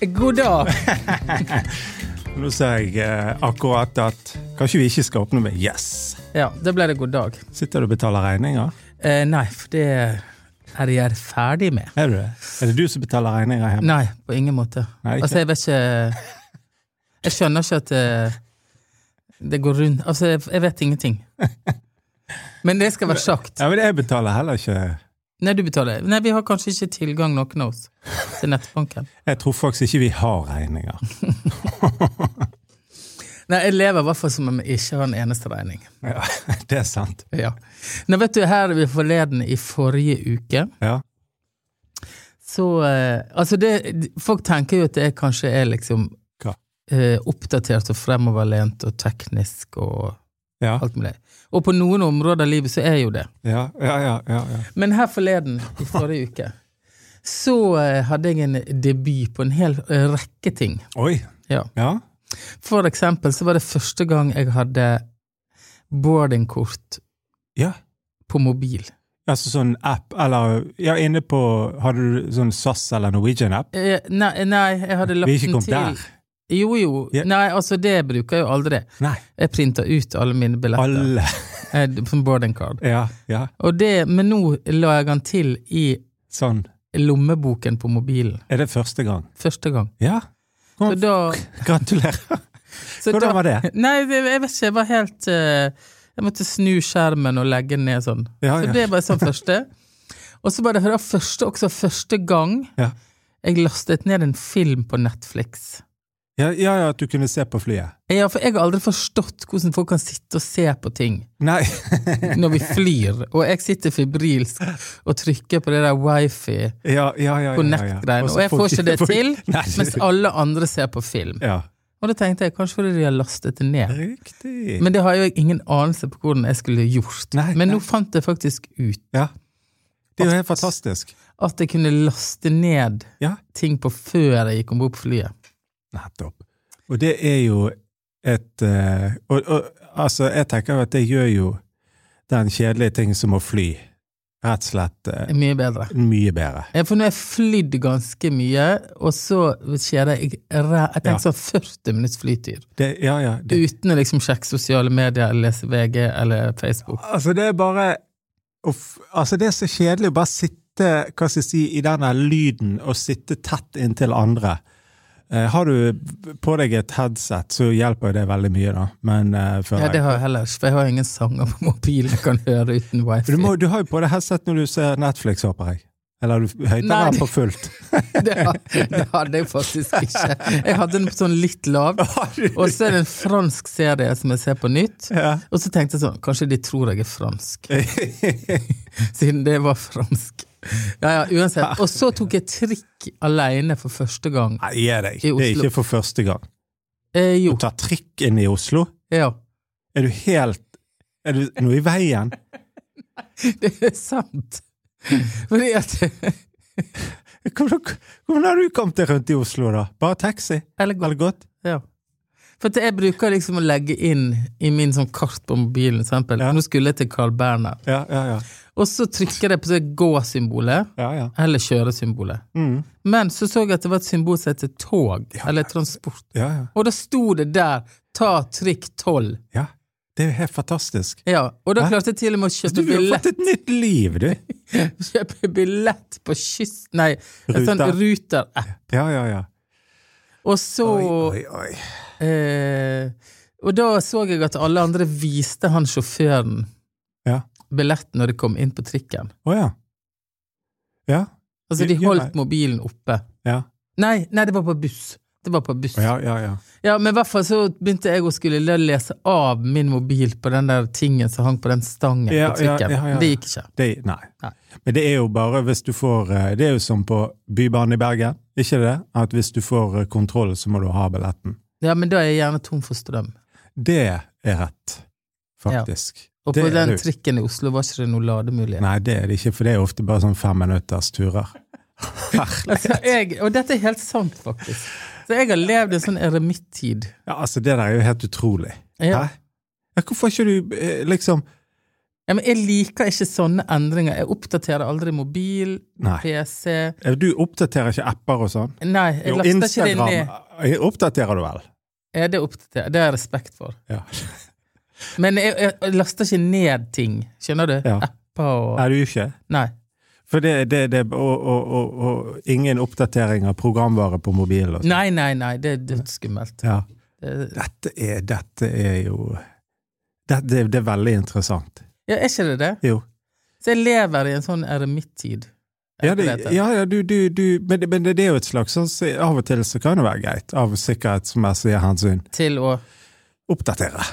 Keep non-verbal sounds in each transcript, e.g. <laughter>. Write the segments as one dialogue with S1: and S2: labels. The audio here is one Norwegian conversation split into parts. S1: God dag.
S2: Nå sa jeg eh, akkurat at kanskje vi ikke skal åpne med yes.
S1: Ja, da ble det god dag.
S2: Sitter du og betaler regninger?
S1: Eh, nei, for det er jeg ferdig med.
S2: Er du det? Er det du som betaler regninger hjemme?
S1: Nei, på ingen måte.
S2: Nei, ikke.
S1: altså, jeg vet ikke Jeg skjønner ikke at eh, det går rundt Altså, jeg, jeg vet ingenting.
S2: <laughs>
S1: Men det skal være sagt.
S2: Ja, men jeg betaler heller ikke.
S1: Nei, du betaler. Nei, vi har kanskje ikke tilgang, noen av oss, til nettbanken.
S2: Jeg tror faktisk ikke vi har regninger.
S1: Nei, jeg lever i hvert fall som om jeg ikke har en eneste regning.
S2: Ja, <laughs> det er sant.
S1: Ja. Nei, vet du, her er vi forleden i forrige uke.
S2: Ja.
S1: Så eh, Altså, det, folk tenker jo at jeg kanskje er liksom
S2: Hva?
S1: eh, oppdatert og fremoverlent og teknisk og
S2: Ja,
S1: alt mulig. Og på noen områder av livet så er jo det.
S2: ja, ja, ja, ja, ja.
S1: Men her forleden, i forrige uke, så eh, hadde jeg en debut på en hel eh, rekke ting.
S2: Oi,
S1: Ja.
S2: ja.
S1: For eksempel så var det første gang jeg hadde boardingkort
S2: Ja,
S1: på mobil.
S2: altså sånn app, eller ja, inne på, hadde du sånn SAS eller Norwegian-app?
S1: Eh, nei, nei, jeg hadde lagt
S2: Vi er ikke
S1: den
S2: kommet
S1: til
S2: der.
S1: Jo, jo.
S2: Ja.
S1: Nei, altså, det bruker jeg jo aldri.
S2: Nei,
S1: Jeg printer ut alle mine billetter.
S2: alle.
S1: Eh, Som boarding card.
S2: Ja, ja,
S1: Og det, men nå la jeg den til i
S2: sånn.
S1: lommeboken på mobilen.
S2: Er det første gang?
S1: Første gang.
S2: Ja.
S1: Så da,
S2: Gratulerer.
S1: <laughs> så
S2: Hvordan
S1: da-
S2: var det?
S1: <laughs> Nei, det- jeg vet ikke. Jeg var helt eh, Jeg måtte snu skjermen og legge den ned sånn.
S2: Ja,
S1: Så
S2: ja.
S1: det var sånn første. Og så var det for det første, også første gang
S2: Ja.
S1: jeg lastet ned en film på Netflix.
S2: Ja, ja, ja, at du kunne se på flyet.
S1: Ja, for jeg har aldri forstått hvordan folk kan sitte og se på ting.
S2: Nei. <laughs>
S1: når vi flyr, og jeg sitter febrilsk og trykker på det der wifi
S2: Ja, ja, ja. ja, ja, ja.
S1: connect-greiene, og jeg får ikke det til,
S2: <laughs> Nei,
S1: mens alle andre ser på film.
S2: Ja.
S1: Og da tenkte jeg kanskje fordi de har lastet det ned.
S2: Riktig.
S1: Men det har jo jeg ingen anelse på hvordan jeg skulle gjort.
S2: Nei,
S1: Men
S2: nei.
S1: nå fant jeg faktisk ut
S2: ja. Det er jo helt fantastisk.
S1: at jeg kunne laste ned
S2: Ja.
S1: ting på før jeg gikk om bord på flyet.
S2: Nettopp. Og det er jo et eh, og, og, Altså, jeg tenker jo at det gjør jo den kjedelige ting som å fly, rett og slett eh,
S1: Det er Mye bedre.
S2: mye bedre.
S1: Ja, For nå har jeg flydd ganske mye, og så skjer det Jeg, jeg
S2: Ja.
S1: tenker sånn 40 minutts flytid.
S2: Det, ja, ja. Det,
S1: Uten å liksom sjekke sosiale medier, eller lese VG eller Facebook.
S2: Altså, det er bare uff, Altså, det er så kjedelig å bare sitte hva skal jeg si, i den der lyden og sitte tett inntil andre. Eh, har du på deg et headset, så hjelper jo det veldig mye, da. Men eh,
S1: Ja,
S2: føler
S1: det
S2: jeg.
S1: har jeg heller ikke, for jeg har ingen sanger på mobilen jeg kan høre uten wifi.
S2: du, må, du har jo på deg headset når du ser Netflix, håper jeg. Eller har du
S1: Nei,
S2: høyttaler
S1: det-
S2: på
S1: <laughs>
S2: fullt?
S1: Det, har, det hadde jeg faktisk ikke. Jeg hadde den på sånn litt lav,
S2: Har du-
S1: og så er det en fransk serie som jeg ser på nytt.
S2: ja. <laughs>
S1: Og så tenkte jeg sånn, kanskje de tror jeg er fransk, siden det var fransk. Ja, ja, uansett. Og så tok jeg trikk alene for første gang.
S2: Nei, gi deg.
S1: I
S2: Det er
S1: Oslo.
S2: ikke for første gang.
S1: Eh,
S2: Du
S1: jo,
S2: tar trikk inn i Oslo.
S1: ja.
S2: Er du helt Er du noe i veien?
S1: Det er sant. Fordi at
S2: Hvordan, hvordan har du kommet deg rundt i Oslo, da? Bare taxi?
S1: Eller godt.
S2: Har det gått?
S1: Ja. For at jeg bruker liksom å legge inn i min sånn kart på mobilen, for eksempel.
S2: Ja.
S1: Nå skulle jeg til Carl Berner.
S2: Ja, ja, ja.
S1: Og så trykker jeg på det gå-symbolet,
S2: ja, ja. Mm.
S1: eller kjøre-symbolet. Men så så jeg at det var et symbol som heter tog, eller transport.
S2: ja, ja.
S1: Og da sto det der 'ta trikk 12'.
S2: ja. Det er jo helt fantastisk.
S1: Ja, og da
S2: Hæ?
S1: klarte jeg til og med å
S2: Du
S1: kjøpe
S2: har jo
S1: billett,
S2: fått et nytt liv, du.
S1: <laughs> kjøpe billett på kyst... Nei, en sånn
S2: Ruter.
S1: ruter-app.
S2: Ja, ja, ja.
S1: Og så
S2: Oi, oi, oi.
S1: Eh, og da så jeg at alle andre viste han sjåføren
S2: Ja.
S1: billett når de kom inn på trikken.
S2: Å ja. Ja.
S1: Altså, de
S2: Ja,
S1: holdt mobilen oppe.
S2: Ja,
S1: Nei, nei, det var på buss. Det var på buss. Ja.
S2: ja, ja. ja.
S1: Men i hvert fall så begynte jeg å skulle le- lese av min mobil på den der tingen som hang på den stangen
S2: Ja,
S1: på trikken.
S2: ja, ja, ja.
S1: Det gikk ikke.
S2: Det, nei.
S1: Nei.
S2: Men det er jo bare hvis du får eh, Det er jo som på Bybanen i Bergen, ikke det? At hvis du får eh, kontroll, så må du ha billetten.
S1: Ja, men da er jeg gjerne tom for strøm.
S2: Det er rett, faktisk.
S1: Og
S2: Det
S1: på
S2: er
S1: den
S2: lurt.
S1: trikken i Oslo var ikke det noe lademulighet.
S2: Nei, det er det ikke, for det er ofte bare sånn femminutters turer. Herlig.
S1: Altså, jeg, og dette er helt sant, faktisk. Så jeg har levd en sånn eremittid.
S2: Ja, altså, det der er jo helt utrolig.
S1: Ja.
S2: Hæ? Ja, hvorfor ikke du eh, liksom
S1: Ja, men jeg liker ikke sånne endringer. Jeg oppdaterer aldri mobil,
S2: Nei.
S1: PC
S2: Eh, Du oppdaterer ikke apper og sånn?
S1: Nei, jeg
S2: Jo,
S1: laster ikke det ned.
S2: Instagram eh, oppdaterer du vel?
S1: Ja, det, oppdaterer. det har jeg respekt for.
S2: Ja.
S1: Men jeg, jeg, jeg laster ikke ned ting. Skjønner du?
S2: Ja.
S1: Apper og
S2: Er du ikke?
S1: Nei.
S2: For det, det, det og, og, og, og ingen oppdatering av programvare på mobilen. og sånn.
S1: Nei, nei, nei. Det er dødsskummelt.
S2: Ja.
S1: Det-
S2: Dette er, dette er jo det, det, det er veldig interessant.
S1: Ja, er ikke det det?
S2: Jo.
S1: Så jeg lever i en sånn eremittid.
S2: Ja, det,
S1: etter dette.
S2: ja, ja du, du, du, men, det- men det, det er jo et slags sånn så Av og til så kan det være greit, av sikkerhetsmessige hensyn,
S1: Til å
S2: oppdatere.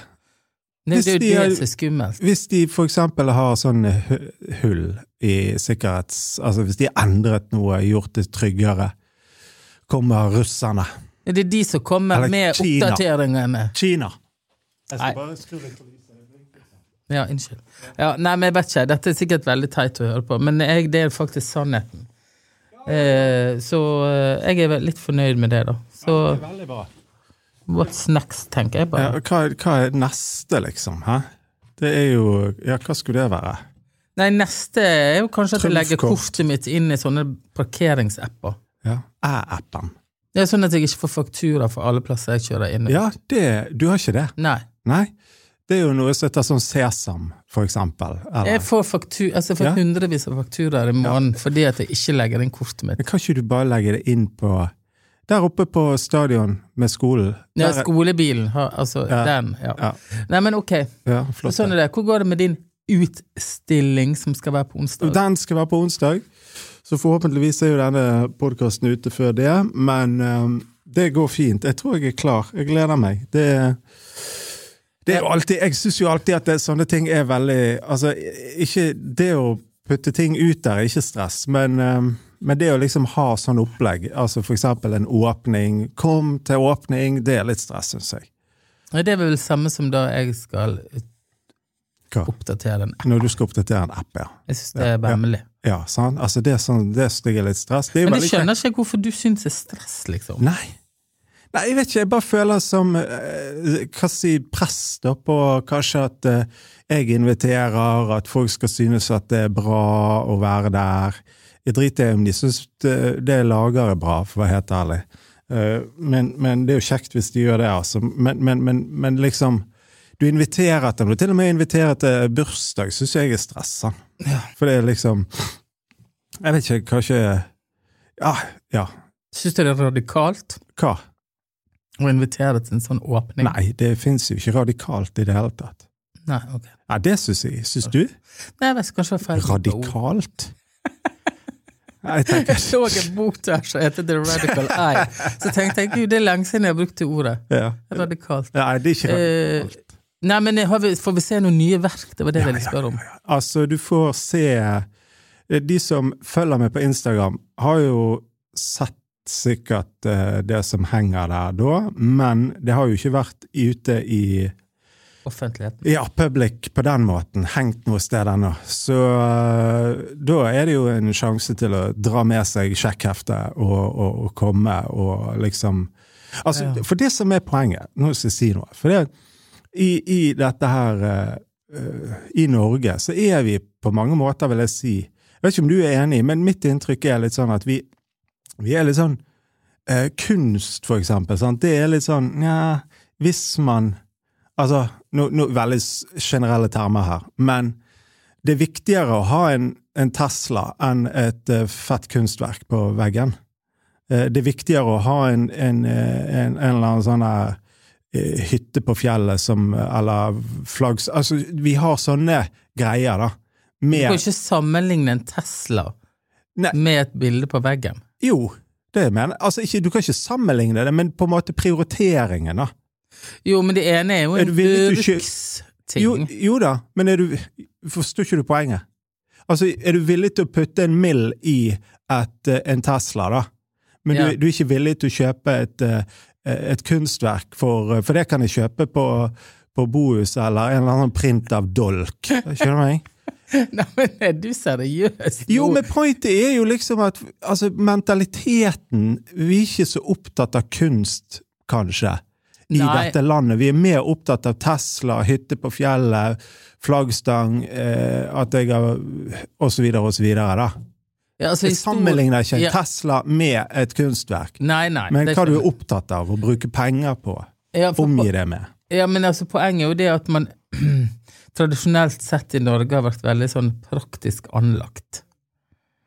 S1: Nei,
S2: Hvis
S1: det er
S2: de
S1: jo
S2: er-
S1: det som er skummelt.
S2: Hvis de for eksempel har sånne hu- hull i sikkerhets... Altså hvis de har endret noe, gjort det tryggere, kommer russerne.
S1: Det er de som kommer
S2: Eller
S1: med
S2: Kina.
S1: oppdateringene.
S2: Kina!
S1: skal Nei.
S2: bare skru litt på lyset.
S1: Ja, unnskyld. Ja, nei, men jeg vet ikke. Dette er sikkert veldig teit å høre på, men jeg, det er faktisk sannheten. Eh, så eh, jeg er vel litt fornøyd med det, da. Så
S2: Veldig bra.
S1: what's next, tenker jeg
S2: Ja,
S1: bare.
S2: hva, hva er neste, liksom? Hæ? Det er jo Ja, hva skulle det være?
S1: Nei, neste er jo kanskje at jeg legger
S2: Trumfkort.
S1: kortet mitt inn i sånne parkeringsapper.
S2: Ja. Æ-appen.
S1: Det er sånn at jeg ikke får faktura for alle plasser jeg kjører inn i.
S2: Ja, det Du har ikke det?
S1: Nei.
S2: Nei. Det er jo noe som heter sånn sesam, for eksempel.
S1: Jeg
S2: Eller
S1: får, faktu altså, jeg får
S2: Ja.
S1: hundrevis av fakturaer i måneden fordi at jeg ikke legger inn kortet mitt.
S2: Men Kan ikke du bare legge det inn på Der oppe på stadion med skolen.
S1: Ja,
S2: Der er-
S1: skolebilen, har- altså
S2: Ja.
S1: den. Ja.
S2: Ja.
S1: Nei, men ok.
S2: ja,
S1: Og
S2: flott.
S1: Sånn er det. Hvor går det med din utstilling som skal være på onsdag?
S2: Den skal være på onsdag, så forhåpentligvis er jo denne podkasten ute før det. Men eh, det går fint. Jeg tror jeg er klar. Jeg gleder meg. Det, det er jo alltid Jeg syns jo alltid at det, sånne ting er veldig Altså, ikke det å putte ting ut der er ikke stress, men eh, men det å liksom ha sånn opplegg, altså for eksempel en åpning Kom til åpning, det er litt stress, syns jeg.
S1: Nei, Det er vel det samme som da jeg skal
S2: Hva?
S1: oppdatere den.
S2: Når du skal oppdatere en app, ja.
S1: Jeg syns det er vemmelig.
S2: Ja, sant? Altså, det er sånn, det synes jeg er litt stress. Det er jo
S1: Men jeg
S2: veldig kjekt.
S1: skjønner ikke hvorfor du syns det er stress, liksom.
S2: Nei. Nei, jeg vet ikke. Jeg bare føler som eh, hva si, press da på kanskje at eh, jeg inviterer, at folk skal synes at det er bra å være der. Jeg driter i om de syns det, det jeg lager er bra, for å være helt ærlig. Eh, men, men det er jo kjekt hvis de gjør det, altså. Men, men, men, men liksom Du inviterer til Du til og med inviterer til bursdag, syns jeg er stressa. For det er liksom Jeg vet ikke, kanskje Ja, ja.
S1: Syns du det er radikalt
S2: Hva?
S1: å invitere til en sånn åpning?
S2: Nei, det fins jo ikke radikalt i det hele tatt.
S1: Nei, ok.
S2: Nei, det syns jeg. Syns du?
S1: Nei, jeg vet ikke, kanskje det var feil.
S2: Radikalt? Nei, jeg tenker
S1: Jeg så <laughs> en bok der som heter The Radical
S2: <laughs>
S1: Eye. Så tenkte jeg gud, det er lenge siden jeg har brukt det ordet.
S2: ja.
S1: Radikalt.
S2: Nei, det er ikke
S1: Eh,
S2: radikalt.
S1: nei, men har vi, får vi se noen nye verk? Det var det jeg ville spørre om.
S2: Altså, du får se eh, De som følger meg på Instagram, har jo sett sikkert eh, det som henger der da, men det har jo ikke vært ute i
S1: Offentligheten.
S2: Ja, public på den måten. Hengt noe sted ennå. Så øh, da er det jo en sjanse til å dra med seg sjekkheftet og, og, og komme og liksom Altså,
S1: Ja.
S2: for det som er poenget Nå skal jeg si noe. For det, i, i dette her øh, øh, I Norge så er vi på mange måter, vil jeg si Jeg vet ikke om du er enig, men mitt inntrykk er litt sånn at vi, vi er litt sånn eh, Kunst, for eksempel. Sant? Det er litt sånn Nja, hvis man Altså, no, no, veldig s- generelle termer her, men det er viktigere å ha en, en Tesla enn et eh, fett kunstverk på veggen. Eh, det er viktigere å ha en, en, eh, en, en eller annen sånn her eh, hytte på fjellet som Eller flaggs... Altså, vi har sånne greier, da.
S1: Du
S2: Mer
S1: kan ikke sammenligne en Tesla
S2: Nei.
S1: med et bilde på veggen.
S2: Jo, det mener jeg. Altså, ikke, du kan ikke sammenligne det, men på en måte prioriteringen, da.
S1: Jo, men det ene er jo
S2: Er
S1: en
S2: du villig til å kjø-
S1: bruksting.
S2: Jo, jo da, men er du Forstår ikke du poenget? Altså, er du villig til å putte en mill i et, eh, en Tesla, da? Men
S1: Ja.
S2: du, du er ikke villig til å kjøpe et, eh, et kunstverk, for, for det kan jeg kjøpe på, på Bohus eller en eller annen print av dolk. Skjønner du meg?
S1: <laughs> Nei, men er du seriøs?
S2: Jo, men pointet er jo liksom at altså, mentaliteten Vi er ikke så opptatt av kunst, kanskje, i
S1: Nei.
S2: dette landet. Vi er mer opptatt av Tesla, hytte på fjellet, flaggstang, eh, at jeg har Og så videre og så videre, da.
S1: Ja, altså,
S2: Jeg
S1: i stor-
S2: sammenligner ikke
S1: Ja.
S2: Tesla med et kunstverk,
S1: Nei, nei.
S2: men
S1: det
S2: hva du
S1: skjønner
S2: er opptatt av å bruke penger på,
S1: jeg. ja, for,
S2: omgi det med.
S1: Ja, men altså poenget er jo det at man <clears throat> tradisjonelt sett i Norge har vært veldig sånn praktisk anlagt.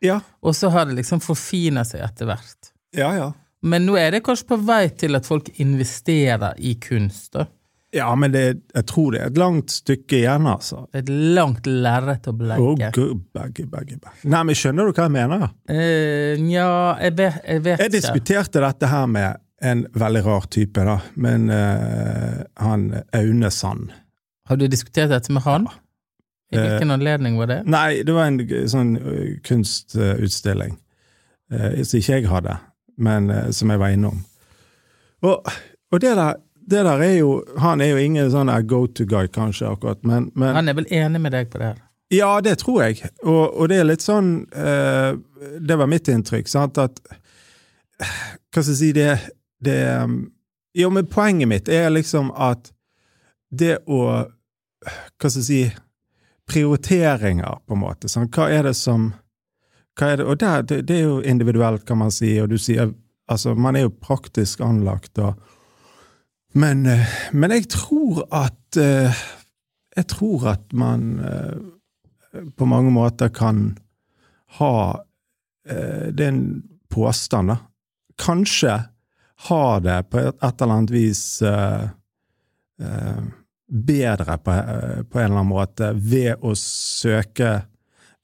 S2: Ja,
S1: Og så har det liksom forfina seg etter hvert.
S2: ja, ja.
S1: Men nå er det kanskje på vei til at folk investerer i kunst. da.
S2: Ja, men det, jeg tror det er et langt stykke igjen, altså.
S1: Det er et langt lerret å
S2: Å,
S1: bleike.
S2: gud, begge, begge, begge. Nei, men skjønner du hva jeg mener?
S1: Eh, Nja, jeg, ve- jeg vet
S2: Jeg
S1: ikke.
S2: diskuterte dette her med en veldig rar type, da, men eh, han Aune Sand.
S1: Har du diskutert dette med han? I
S2: Eh,
S1: hvilken anledning var det?
S2: Nei, det var en g- sånn ø, kunstutstilling eh, som ikke jeg hadde, men eh, som jeg var innom. Og, og det, der, det der er jo Han er jo ingen sånn go to guy, kanskje, akkurat, men, men
S1: Han er vel enig med deg på det her?
S2: Ja, det tror jeg. Og, og det er litt sånn eh, Det var mitt inntrykk, sant, at Hva skal jeg si det, det um, Jo, men poenget mitt er liksom at det å Hva skal jeg si Prioriteringer, på en måte. Sant? Hva er det som hva er det, Og der, det, det er jo individuelt, kan man si, og du sier Altså, man er jo praktisk anlagt, og Men, eh, men jeg tror at eh, Jeg tror at man eh, på mange måter kan ha eh, Det er en påstand, da. Kanskje har det på et et eller annet vis eh, eh, bedre på, eh, på en eller annen måte ved å søke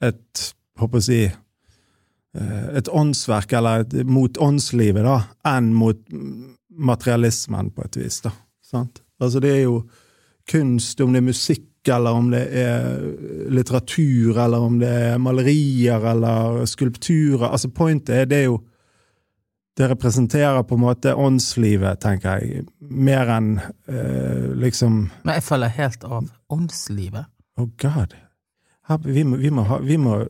S2: et Håper jeg å si eh, et åndsverk, eller et, mot åndslivet, da, enn mot mm, materialismen, på et vis. da. Sant? Altså, det er jo kunst, om det er musikk, eller om det er litteratur, eller om det er malerier eller skulpturer. Altså Pointet er det er jo Det representerer på en måte åndslivet, tenker jeg, mer enn eh, liksom
S1: Men jeg faller helt av. Åndslivet. <laughs>
S2: Oh god. Her, vi, må, vi må ha Vi må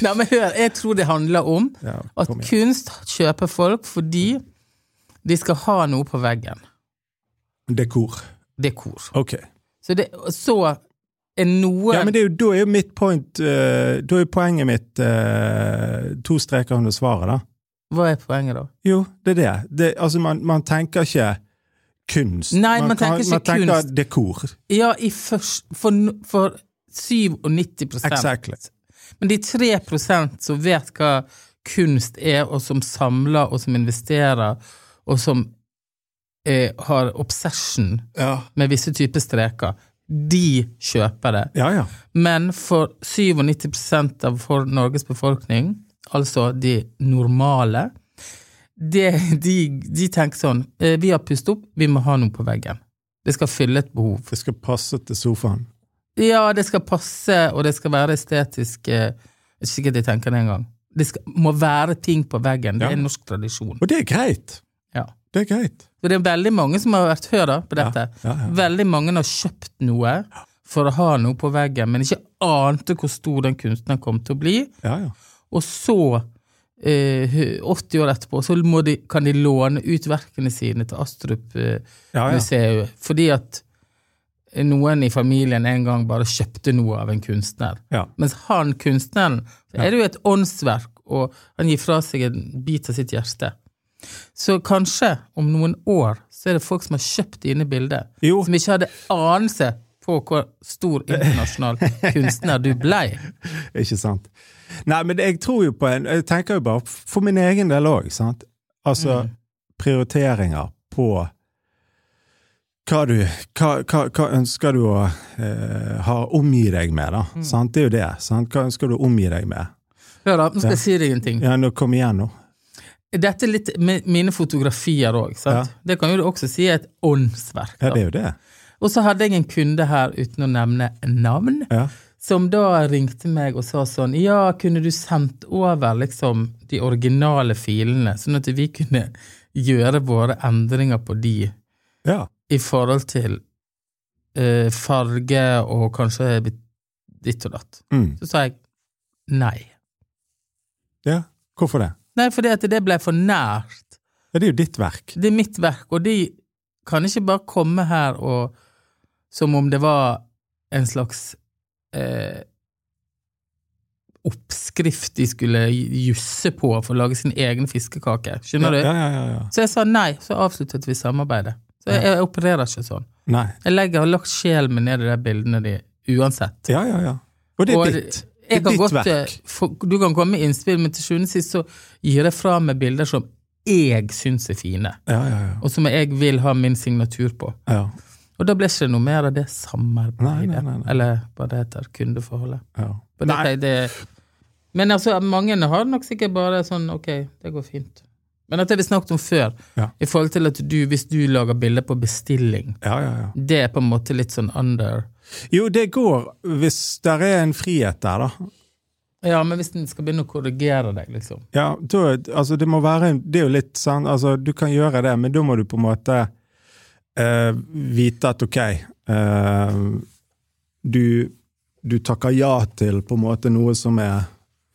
S1: Nei, men hør, jeg tror det handler om
S2: ja,
S1: At
S2: kom igjen.
S1: kunst kjøper folk fordi de skal ha noe på veggen.
S2: Dekor.
S1: Dekor.
S2: Ok.
S1: Så, det, så er noe
S2: Ja, men det er jo, da er jo mitt point eh, Da er jo poenget mitt eh, to streker under svaret, da.
S1: Hva er poenget, da?
S2: Jo, det er det. det altså, man, man tenker ikke kunst.
S1: Nei, man tenker ikke
S2: man tenker
S1: kunst.
S2: dekor.
S1: Ja, i først, for, no- for 97
S2: Exactly.
S1: Men de 3 som vet hva kunst er, og som samler, og som investerer, og som eh, har obsession
S2: Ja.
S1: med visse typer streker, de kjøper det.
S2: ja, ja.
S1: Men for 97 av for Norges befolkning, altså de normale, det, de, de tenker sånn eh, Vi har pustet opp, vi må ha noe på veggen. Det skal fylle et behov.
S2: Det skal passe til sofaen.
S1: Ja, det skal passe, og det skal være estetisk eh, Jeg vet ikke hva de tenker det engang. Det skal, må være ting på veggen. Det
S2: Ja.
S1: er norsk tradisjon.
S2: Og det er greit.
S1: Ja.
S2: Det er greit.
S1: Så det er veldig mange som har vært før da, på dette.
S2: Ja, ja.
S1: Veldig mange har kjøpt noe for å ha noe på veggen, men ikke ante hvor stor den kunstneren kom til å bli.
S2: Ja, ja.
S1: Og så, eh, 80 år etterpå, så må de, kan de låne ut verkene sine til Astrup-museet.
S2: ja, ja.
S1: Fordi at noen i familien en gang bare kjøpte noe av en kunstner.
S2: ja.
S1: Mens han kunstneren så er det jo et åndsverk, og han gir fra seg en bit av sitt hjerte. Så kanskje om noen år så er det folk som har kjøpt dine bilder,
S2: Jo.
S1: som ikke hadde anelse på hvor stor
S2: <laughs>
S1: internasjonal kunstner du blei.
S2: Ikke sant. Nei, men jeg tror jo på en Jeg tenker jo bare for min egen del òg, sant.
S1: Mm.
S2: Altså prioriteringer på hva, du, hva, hva, hva ønsker du å eh, ha omgi deg med, da?
S1: Mm.
S2: Sant? Det er jo det. Sant? Hva ønsker du å omgi deg med?
S1: Hør da, nå skal jeg si deg en ting.
S2: Ja, nå kom igjen, nå.
S1: Dette er litt mi- mine fotografier òg. sant? Det kan jo du også si er et åndsverk.
S2: Ja, det
S1: da.
S2: er jo det.
S1: Og så hadde jeg en kunde her, uten å nevne navn,
S2: Ja.
S1: som da ringte meg og sa sånn Ja, kunne du sendt over liksom de originale filene, sånn at vi kunne gjøre våre endringer på de
S2: ja.
S1: i forhold til eh, farge og kanskje ditt og datt?
S2: Mm.
S1: Så sa jeg nei.
S2: ja. Hvorfor det?
S1: Nei, fordi at det ble for nært
S2: Ja, det er jo ditt verk.
S1: Det er mitt verk, og de kan ikke bare komme her og Som om det var en slags eh, oppskrift de skulle jusse på for å lage sin egen fiskekake. Skjønner
S2: ja,
S1: du?
S2: ja, ja, ja.
S1: Så jeg sa nei, så avsluttet vi samarbeidet. Så jeg, jeg opererer ikke sånn.
S2: Nei.
S1: Jeg legger, har lagt sjelen min ned i de bildene de, uansett.
S2: Ja, ja, ja. Og det er
S1: Og
S2: ditt. Det
S1: jeg
S2: er
S1: kan
S2: ditt
S1: godt,
S2: verk.
S1: eh, få- du kan komme med innspill, men til sjuende og sist så gir jeg fra meg bilder som jeg syns er fine,
S2: Ja, ja, ja.
S1: og som jeg vil ha min signatur på.
S2: ja.
S1: Og da ble ikke det noe mer av det samarbeidet,
S2: Nei, nei, nei, nei.
S1: eller hva det heter, kundeforholdet.
S2: ja.
S1: Men
S2: Nei.
S1: dette- det, men altså, mange har nok sikkert bare sånn ok, det går fint. Men dette har vi snakket om før,
S2: Ja.
S1: i forhold til at du, hvis du lager bilder på bestilling,
S2: Ja, ja, ja.
S1: det er på en måte litt sånn under
S2: Jo, det går hvis det er en frihet der, da.
S1: Ja, men hvis den skal begynne å korrigere deg, liksom.
S2: Ja, da, altså det må være en, Det er jo litt sånn altså Du kan gjøre det, men da må du på en måte eh, vite at ok eh, du, du takker ja til på en måte noe som er,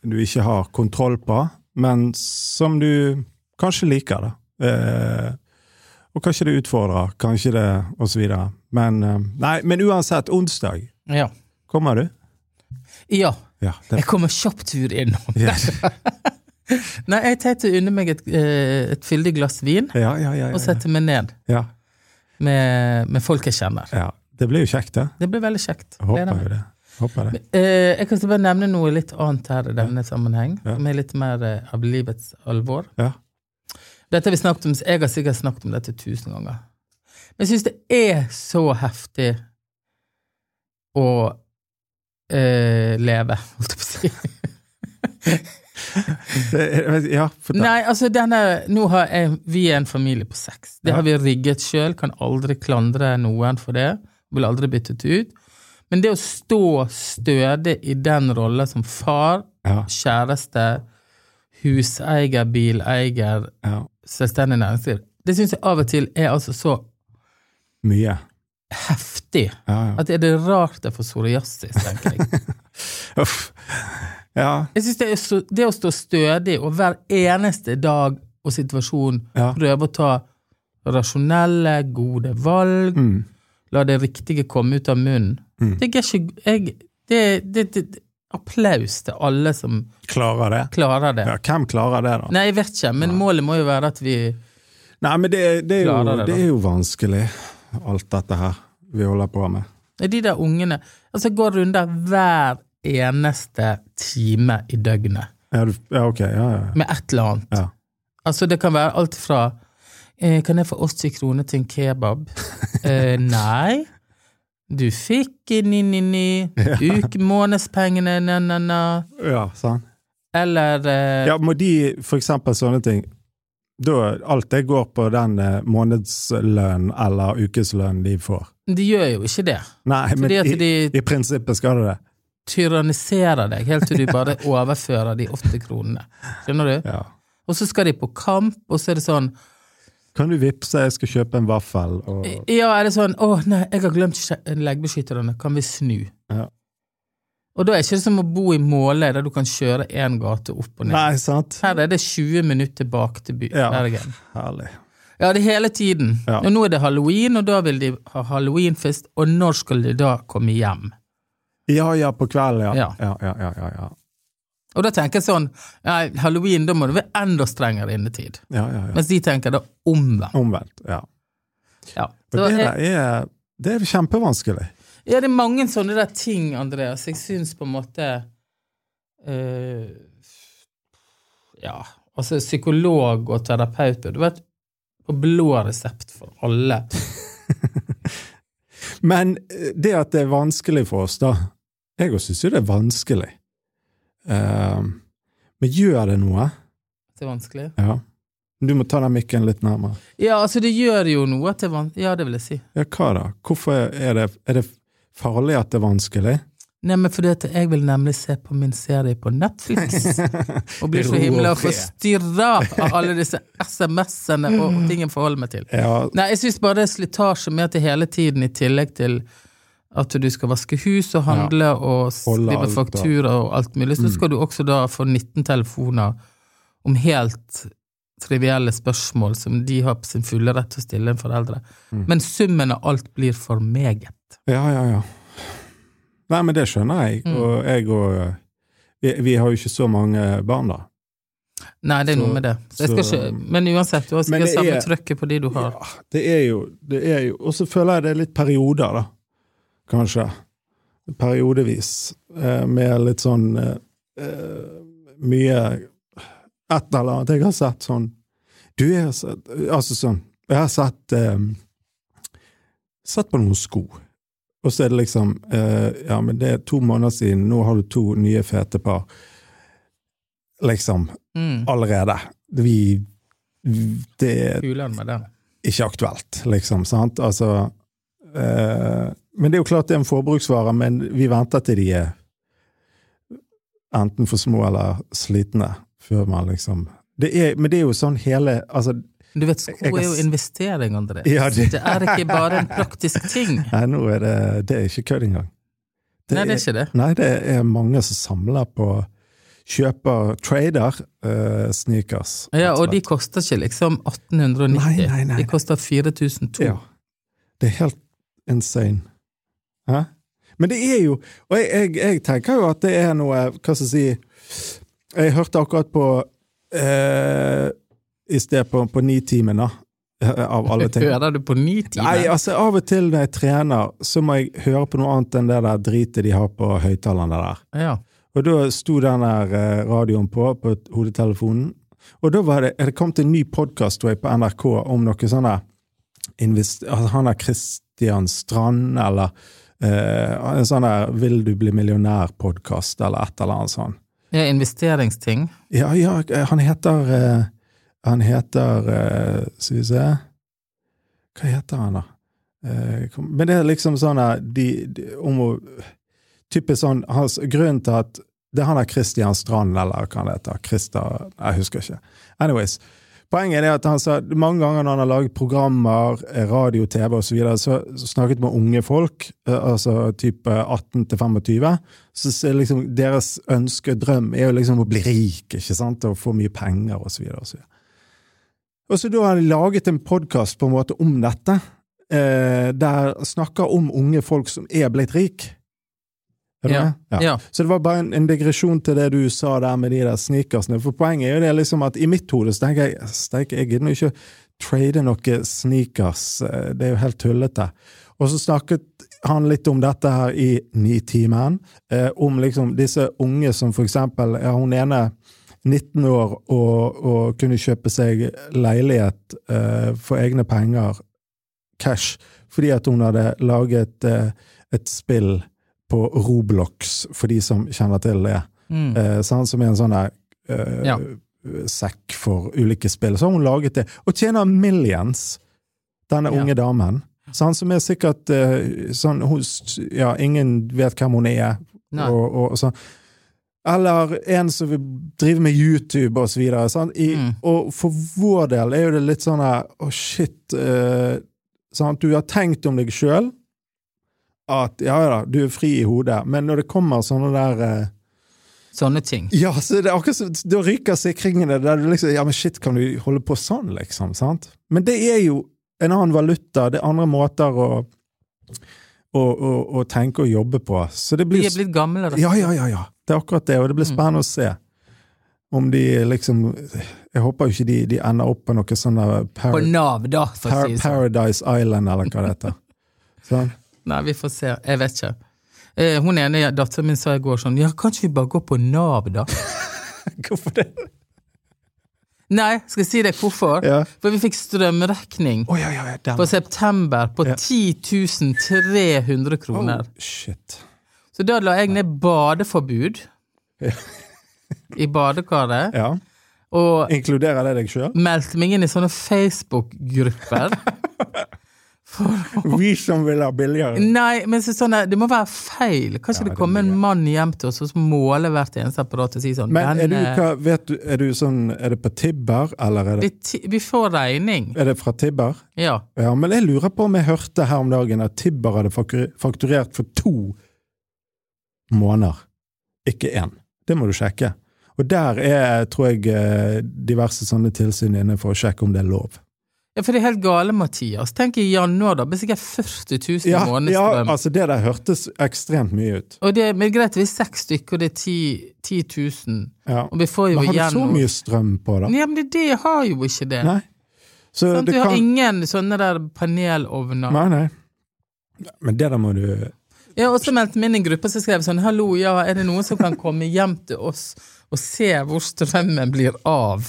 S2: du ikke har kontroll på, men som du kanskje liker, da. Eh, og kanskje det utfordrer, kanskje det og så videre. Men, eh, nei, men uansett, onsdag
S1: Ja.
S2: kommer du?
S1: ja.
S2: Ja. Det,
S1: Jeg kommer kjapt tur innom.
S2: <laughs> ja,
S1: Nei, jeg tenkte å unne meg et, eh, et fyldig glass vin
S2: ja, ja, ja,
S1: og
S2: ja,
S1: sette meg ned
S2: ja,
S1: med, med folk jeg kjenner.
S2: ja. Det blir jo kjekt, det.
S1: Det blir veldig kjekt.
S2: Jeg
S1: Gleder
S2: håper
S1: meg.
S2: jo det. Håper det.
S1: Eh, jeg kan så bare nevne noe litt annet her i denne sammenheng,
S2: Ja.
S1: som er litt mer eh, av livets alvor.
S2: Ja.
S1: Dette har vi snakket om, Jeg har sikkert snakket om dette tusen ganger. Men jeg syns det er så heftig å eh, leve, <laughs> holdt jeg på å si.
S2: <laughs> Det- Ja, fortell.
S1: Nei, altså denne, nå har jeg, Vi er en familie på seks. Det
S2: Ja.
S1: har vi rigget sjøl, kan aldri klandre noen for det. Vil aldri byttet ut. Men det å stå stødig i den rolla som far,
S2: Ja,
S1: kjæreste, huseier, bileier,
S2: ja.
S1: selvstendig næringsliv, det syns jeg av og til er altså så
S2: Mye.
S1: heftig
S2: Ja, ja.
S1: at er det rart jeg får psoriasis, tenker jeg.
S2: Uff. Ja,
S1: Jeg synes det, er så, det å stå stødig og hver eneste dag og situasjon
S2: Ja.
S1: prøve å ta rasjonelle, gode valg,
S2: mm.
S1: la det riktige komme ut av munnen
S2: Mm.
S1: Det er ikke jeg, det, det, det, det, Applaus til alle som
S2: Klarer det?
S1: klarer det.
S2: Ja, hvem klarer det, da?
S1: Nei, jeg vet ikke, men målet må jo være at vi
S2: Nei, men det, er- det, er,
S1: Klarer det,
S2: jo,
S1: da.
S2: det er jo vanskelig, alt dette her vi holder på med.
S1: Nei, De der ungene altså går runder hver eneste time i døgnet
S2: Ja, du, ja ok. Ja, ja.
S1: med et eller annet.
S2: Ja.
S1: Altså, det kan være alt fra eh, Kan jeg få 80 kroner til en
S2: <laughs>
S1: kebab? eh, nei. Du fikk i 999. Uke, månedspengene, na-na-na.
S2: ja sant.
S1: Eller eh,
S2: Ja, må de, for eksempel sånne ting da, Alt det går på den eh, månedslønnen eller ukeslønnen de får.
S1: De gjør jo ikke det.
S2: Nei, men
S1: Fordi at
S2: i,
S1: de-
S2: i prinsippet skal det det.
S1: Tyranniserer deg helt til du bare overfører de 80 kronene. Skjønner du?
S2: Ja.
S1: Og så skal de på kamp, og så er det sånn
S2: Kan du vippse, jeg skal kjøpe en vaffel og
S1: Ja, er det sånn 'Å, nei, jeg har glemt skje- leggbeskytterne. Kan vi snu?'
S2: Ja.
S1: Og da er det ikke som å bo i Måløy, der du kan kjøre én gate opp og ned.
S2: Nei, sant?
S1: Her er det 20 minutter tilbake til by-
S2: Ja.
S1: Bergen.
S2: Herlig.
S1: Ja, det er hele tiden.
S2: Ja.
S1: Og nå er det halloween, og da vil de ha halloweenfest. Og når skal de da komme hjem?
S2: Ja, ja, på kvelden, ja.
S1: Ja.
S2: Ja, ja, ja, ja, ja.
S1: Og da tenker jeg sånn Nei, halloween, da må det være enda strengere innetid.
S2: ja, ja, ja.
S1: Mens de tenker da omvendt.
S2: Omvendt, ja.
S1: Ja.
S2: Og
S1: Så eh,
S2: det,
S1: jeg,
S2: der er, det er kjempevanskelig.
S1: ja, det er mange sånne der ting, Andreas. Jeg syns på en måte eh, Ja, altså psykolog og terapeut burde vært på blå resept for alle.
S2: Men eh, det at det er vanskelig for oss, da Jeg òg syns jo det er vanskelig. Ehm, men gjør det noe?
S1: Det er vanskelig.
S2: Ja. Du må ta den mikken litt nærmere.
S1: Ja, altså, det gjør jo noe at det er vanskelig. Ja, det vil jeg si.
S2: Ja, hva da? Hvorfor er det, er det farlig at det er vanskelig?
S1: Nei, men fordi at jeg vil nemlig se på min serie på Netflix. Og blir så
S2: Ro og
S1: himla
S2: fred.
S1: forstyrra av alle disse SMS-ene og ting jeg forholder meg til.
S2: Ja,
S1: Nei, jeg syns bare det er slitasje med at det hele tiden, i tillegg til at du skal vaske hus og handle og
S2: Holde
S1: skrive
S2: alt, da. Mm.
S1: faktura og alt mulig, så skal du også da få 19 telefoner om helt trivielle spørsmål som de har på sin fulle rett til å stille en foreldre.
S2: Mm.
S1: Men summen av alt blir for meget.
S2: Ja, ja, ja. Nei, men det skjønner jeg.
S1: Mm.
S2: Og jeg og eh, vi, vi har jo ikke så mange barn, da.
S1: Nei, det er
S2: Så-
S1: noe med det. Så jeg skal
S2: så-
S1: ikke, men uansett, du har
S2: Men
S1: sikkert
S2: det
S1: samme
S2: er-
S1: trøkket på de du har.
S2: Ja, det er jo, det er jo Og så føler jeg det er litt perioder, da. Kanskje. Periodevis. Eh, med litt sånn eh, eh, Mye Et eller annet. Jeg har sett sånn Du, jeg har sett Altså sånn Jeg har sett eh, Sett på noen sko. Og så er det liksom eh, Ja, men det er to måneder siden, nå har du to nye fete par. Liksom.
S1: Mm.
S2: Allerede. Vi Det
S1: Kulere med den.
S2: ikke aktuelt, liksom. sant? Altså, eh, men det er jo klart det er en forbruksvare, men vi venter til de er enten for små eller slitne, før man liksom det er, Men det er jo sånn hele altså,
S1: Du vet, sko
S2: Jeg- jeg
S1: er
S2: kan
S1: jo
S2: s-
S1: investering, André.
S2: Ja, det-
S1: det er ikke bare en praktisk
S2: <laughs>
S1: ting.
S2: Nei, nå er det Det er ikke kødd engang.
S1: Nei, det er ikke det.
S2: Nei, det er mange som samler på Kjøper trader eh, sneakers.
S1: Ja,
S2: rett
S1: og de
S2: slett.
S1: koster ikke liksom 1890.
S2: Nei, nei, nei,
S1: De
S2: nei.
S1: koster 4200.
S2: Ja. Det er helt insane. Hæ? Men det er jo Og jeg, jeg, jeg tenker jo at det er noe Hva skal jeg si Jeg hørte akkurat på eh, I sted på, på Nitimen, da. eh, Av alle
S1: <laughs>
S2: ting.
S1: Hører du på ni timer?
S2: Nei, altså Av og til når jeg trener, så må jeg høre på noe annet enn det der dritet de har på høyttalerne der.
S1: ja.
S2: Og da sto den der eh, radioen på, på hodetelefonen. Og da var det, er det kommet en ny podkast på NRK om noe sånn der invest- altså, Han der Christian Strand, eller eh, en sånn der 'Vil du bli millionær'-podkast, eller et eller annet sånt.
S1: ja, investeringsting.
S2: Ja, ja, eh, han heter eh, Han heter eh, Skal vi se Hva heter han, da? Eh, kom- men det er liksom sånn der de, de, om å Typisk sånn hans, Grunnen til at det er han der Christian Strand, eller hva han heter. Christer Jeg husker ikke. Anyways. Poenget er at han sa mange ganger når han har laget programmer, eh, radio, TV osv., så, videre, så så snakket med unge folk, eh, altså type 18 til 25, så så er det liksom deres ønske og drøm er jo liksom å bli rik, ikke sant, og få mye penger osv. Og, så videre. og så da har han laget en podkast på en måte om dette, eh, der snakker om unge folk som er blitt rik. Er du med?
S1: Ja. ja.
S2: Så det var bare en, en digresjon til det du sa der med de der sneakersene. For poenget er jo det liksom at i mitt hode så tenker jeg steike, jeg gidder jo ikke trade noen sneakers. eh, Det er jo helt tullete. Og så snakket han litt om dette her i Nitimen. Eh, om liksom disse unge som for eksempel ja, Hun ene 19 år og, og kunne kjøpe seg leilighet eh, for egne penger, cash, fordi at hun hadde laget eh, et spill på Roblox, for de som kjenner til det.
S1: Mm.
S2: Eh, sant, som er en sånn der eh,
S1: Ja.
S2: sekk for ulike spill. Så har hun laget det, og tjener millions, denne
S1: Ja.
S2: unge damen. Så han som er sikkert eh, sånn hun, s- Ja, ingen vet hvem hun er.
S1: Nei.
S2: Og, og, og sånn. Eller en som vil drive med YouTube og så videre. Sant? I,
S1: Mm.
S2: Og for vår del er jo det litt sånn her Å, shit. eh, sant? Du har tenkt om deg sjøl at ja ja da, du er fri i hodet, men når det kommer sånne der eh,
S1: Sånne ting.
S2: ja, så det er akkurat som, da ryker sikringene der du liksom Ja, men shit, kan du holde på sånn, liksom? sant? Men det er jo en annen valuta, det er andre måter å, å, å, å tenke og jobbe på. Så det
S1: Vi
S2: blir
S1: er blitt gamle, da.
S2: Ja, ja, ja, ja. Det er akkurat det, og
S1: Mm.
S2: det blir spennende å se. Om de liksom Jeg håper jo ikke de, de ender opp på noe sånn der
S1: På
S2: par,
S1: Nav, da, for å
S2: par,
S1: si det sånn.
S2: Paradise Island, eller hva det
S1: <laughs>
S2: heter. Sånn.
S1: Nei, vi får se. Jeg vet ikke. Eh, hun ene datteren min sa i går sånn Ja, kan ikke vi bare gå på Nav, da? <laughs>
S2: Hvorfor det?
S1: Nei, skal jeg si deg hvorfor?
S2: Ja.
S1: For vi fikk strømrekning
S2: Å ja, ja, ja.
S1: på
S2: Den.
S1: september på
S2: Ja.
S1: 10 300 kroner.
S2: Oh, shit.
S1: Så da la jeg ned
S2: <laughs>
S1: badeforbud
S2: Ja.
S1: i badekaret,
S2: Ja.
S1: og
S2: Inkluderer det deg sjøl?
S1: meldte meg inn i sånne Facebook-grupper.
S2: <laughs> Vi som vil ha
S1: <laughs>
S2: billigere.
S1: Nei, men så sånn, det må være feil. Kan ikke
S2: Ja,
S1: det
S2: det
S1: komme en
S2: må
S1: mann hjem til oss og så måle hvert eneste apparat og si sånn
S2: Men er du,
S1: denne-
S2: hva, vet du, er du sånn Er det på Tibber, eller er det,
S1: vi, ti- vi får regning.
S2: er det fra Tibber?
S1: Ja.
S2: Ja, men jeg lurer på om jeg hørte her om dagen at Tibber hadde faktur- fakturert for to måneder, ikke én. Det må du sjekke. Og der er, tror jeg, eh, diverse sånne tilsyn inne for å sjekke om det er lov.
S1: Ja, for det er helt gale, Mathias. Tenk i januar, da. Blir sikkert 40 000
S2: Ja,
S1: i
S2: ja
S1: månedsstrøm.
S2: altså det der hørtes ekstremt mye ut.
S1: Og det, men greit, vi er seks stykker, og det er 10, 10 000.
S2: Ja.
S1: Og vi får jo
S2: Men har
S1: igjen
S2: du så
S1: noe.
S2: mye strøm på, da?
S1: Ja, men det, det har jo ikke det.
S2: Nei. Så
S1: Sant?
S2: det
S1: Vi Sånn har
S2: kan
S1: ingen sånne der panelovner.
S2: Nei, nei. Men det der må du
S1: Jeg har også meldt meg inn i en gruppe som skrev sånn Hallo, ja, er det noen som kan komme hjem til oss og se hvor strømmen blir av?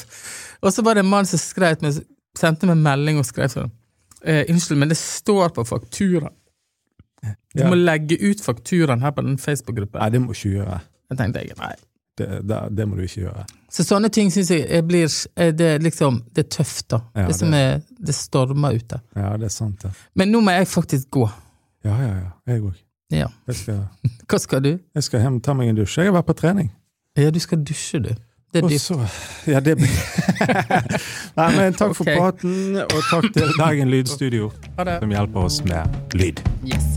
S1: Og så var det en mann som skrev meg, sendte meg en melding og skrev sånn eh, Unnskyld, men det står på fakturaen. Du
S2: Ja.
S1: må legge ut fakturaen her på den Facebook-gruppen.
S2: Nei, det må du ikke gjøre.
S1: Jeg tenkte jeg, nei.
S2: Det, det, det må du ikke gjøre.
S1: Så sånne ting syns jeg eh, blir eh, Det er liksom, det er tøft, da.
S2: Ja,
S1: det som er, det stormer ute.
S2: Ja, det er sant, det.
S1: Men nå må jeg faktisk gå.
S2: Ja, ja, ja. Jeg òg.
S1: Ja.
S2: Jeg, skal-
S1: Hva skal du?
S2: jeg skal hjem og ta meg en dusj. Jeg har vært på trening.
S1: Ja, du skal dusje, du. Det er
S2: Og
S1: dyrt.
S2: så Ja, det
S1: <laughs>
S2: blir Nei, men takk for
S1: Ok.
S2: praten, og takk til Bergen Lydstudio,
S1: Ha det.
S2: som hjelper oss med lyd.
S1: Yes.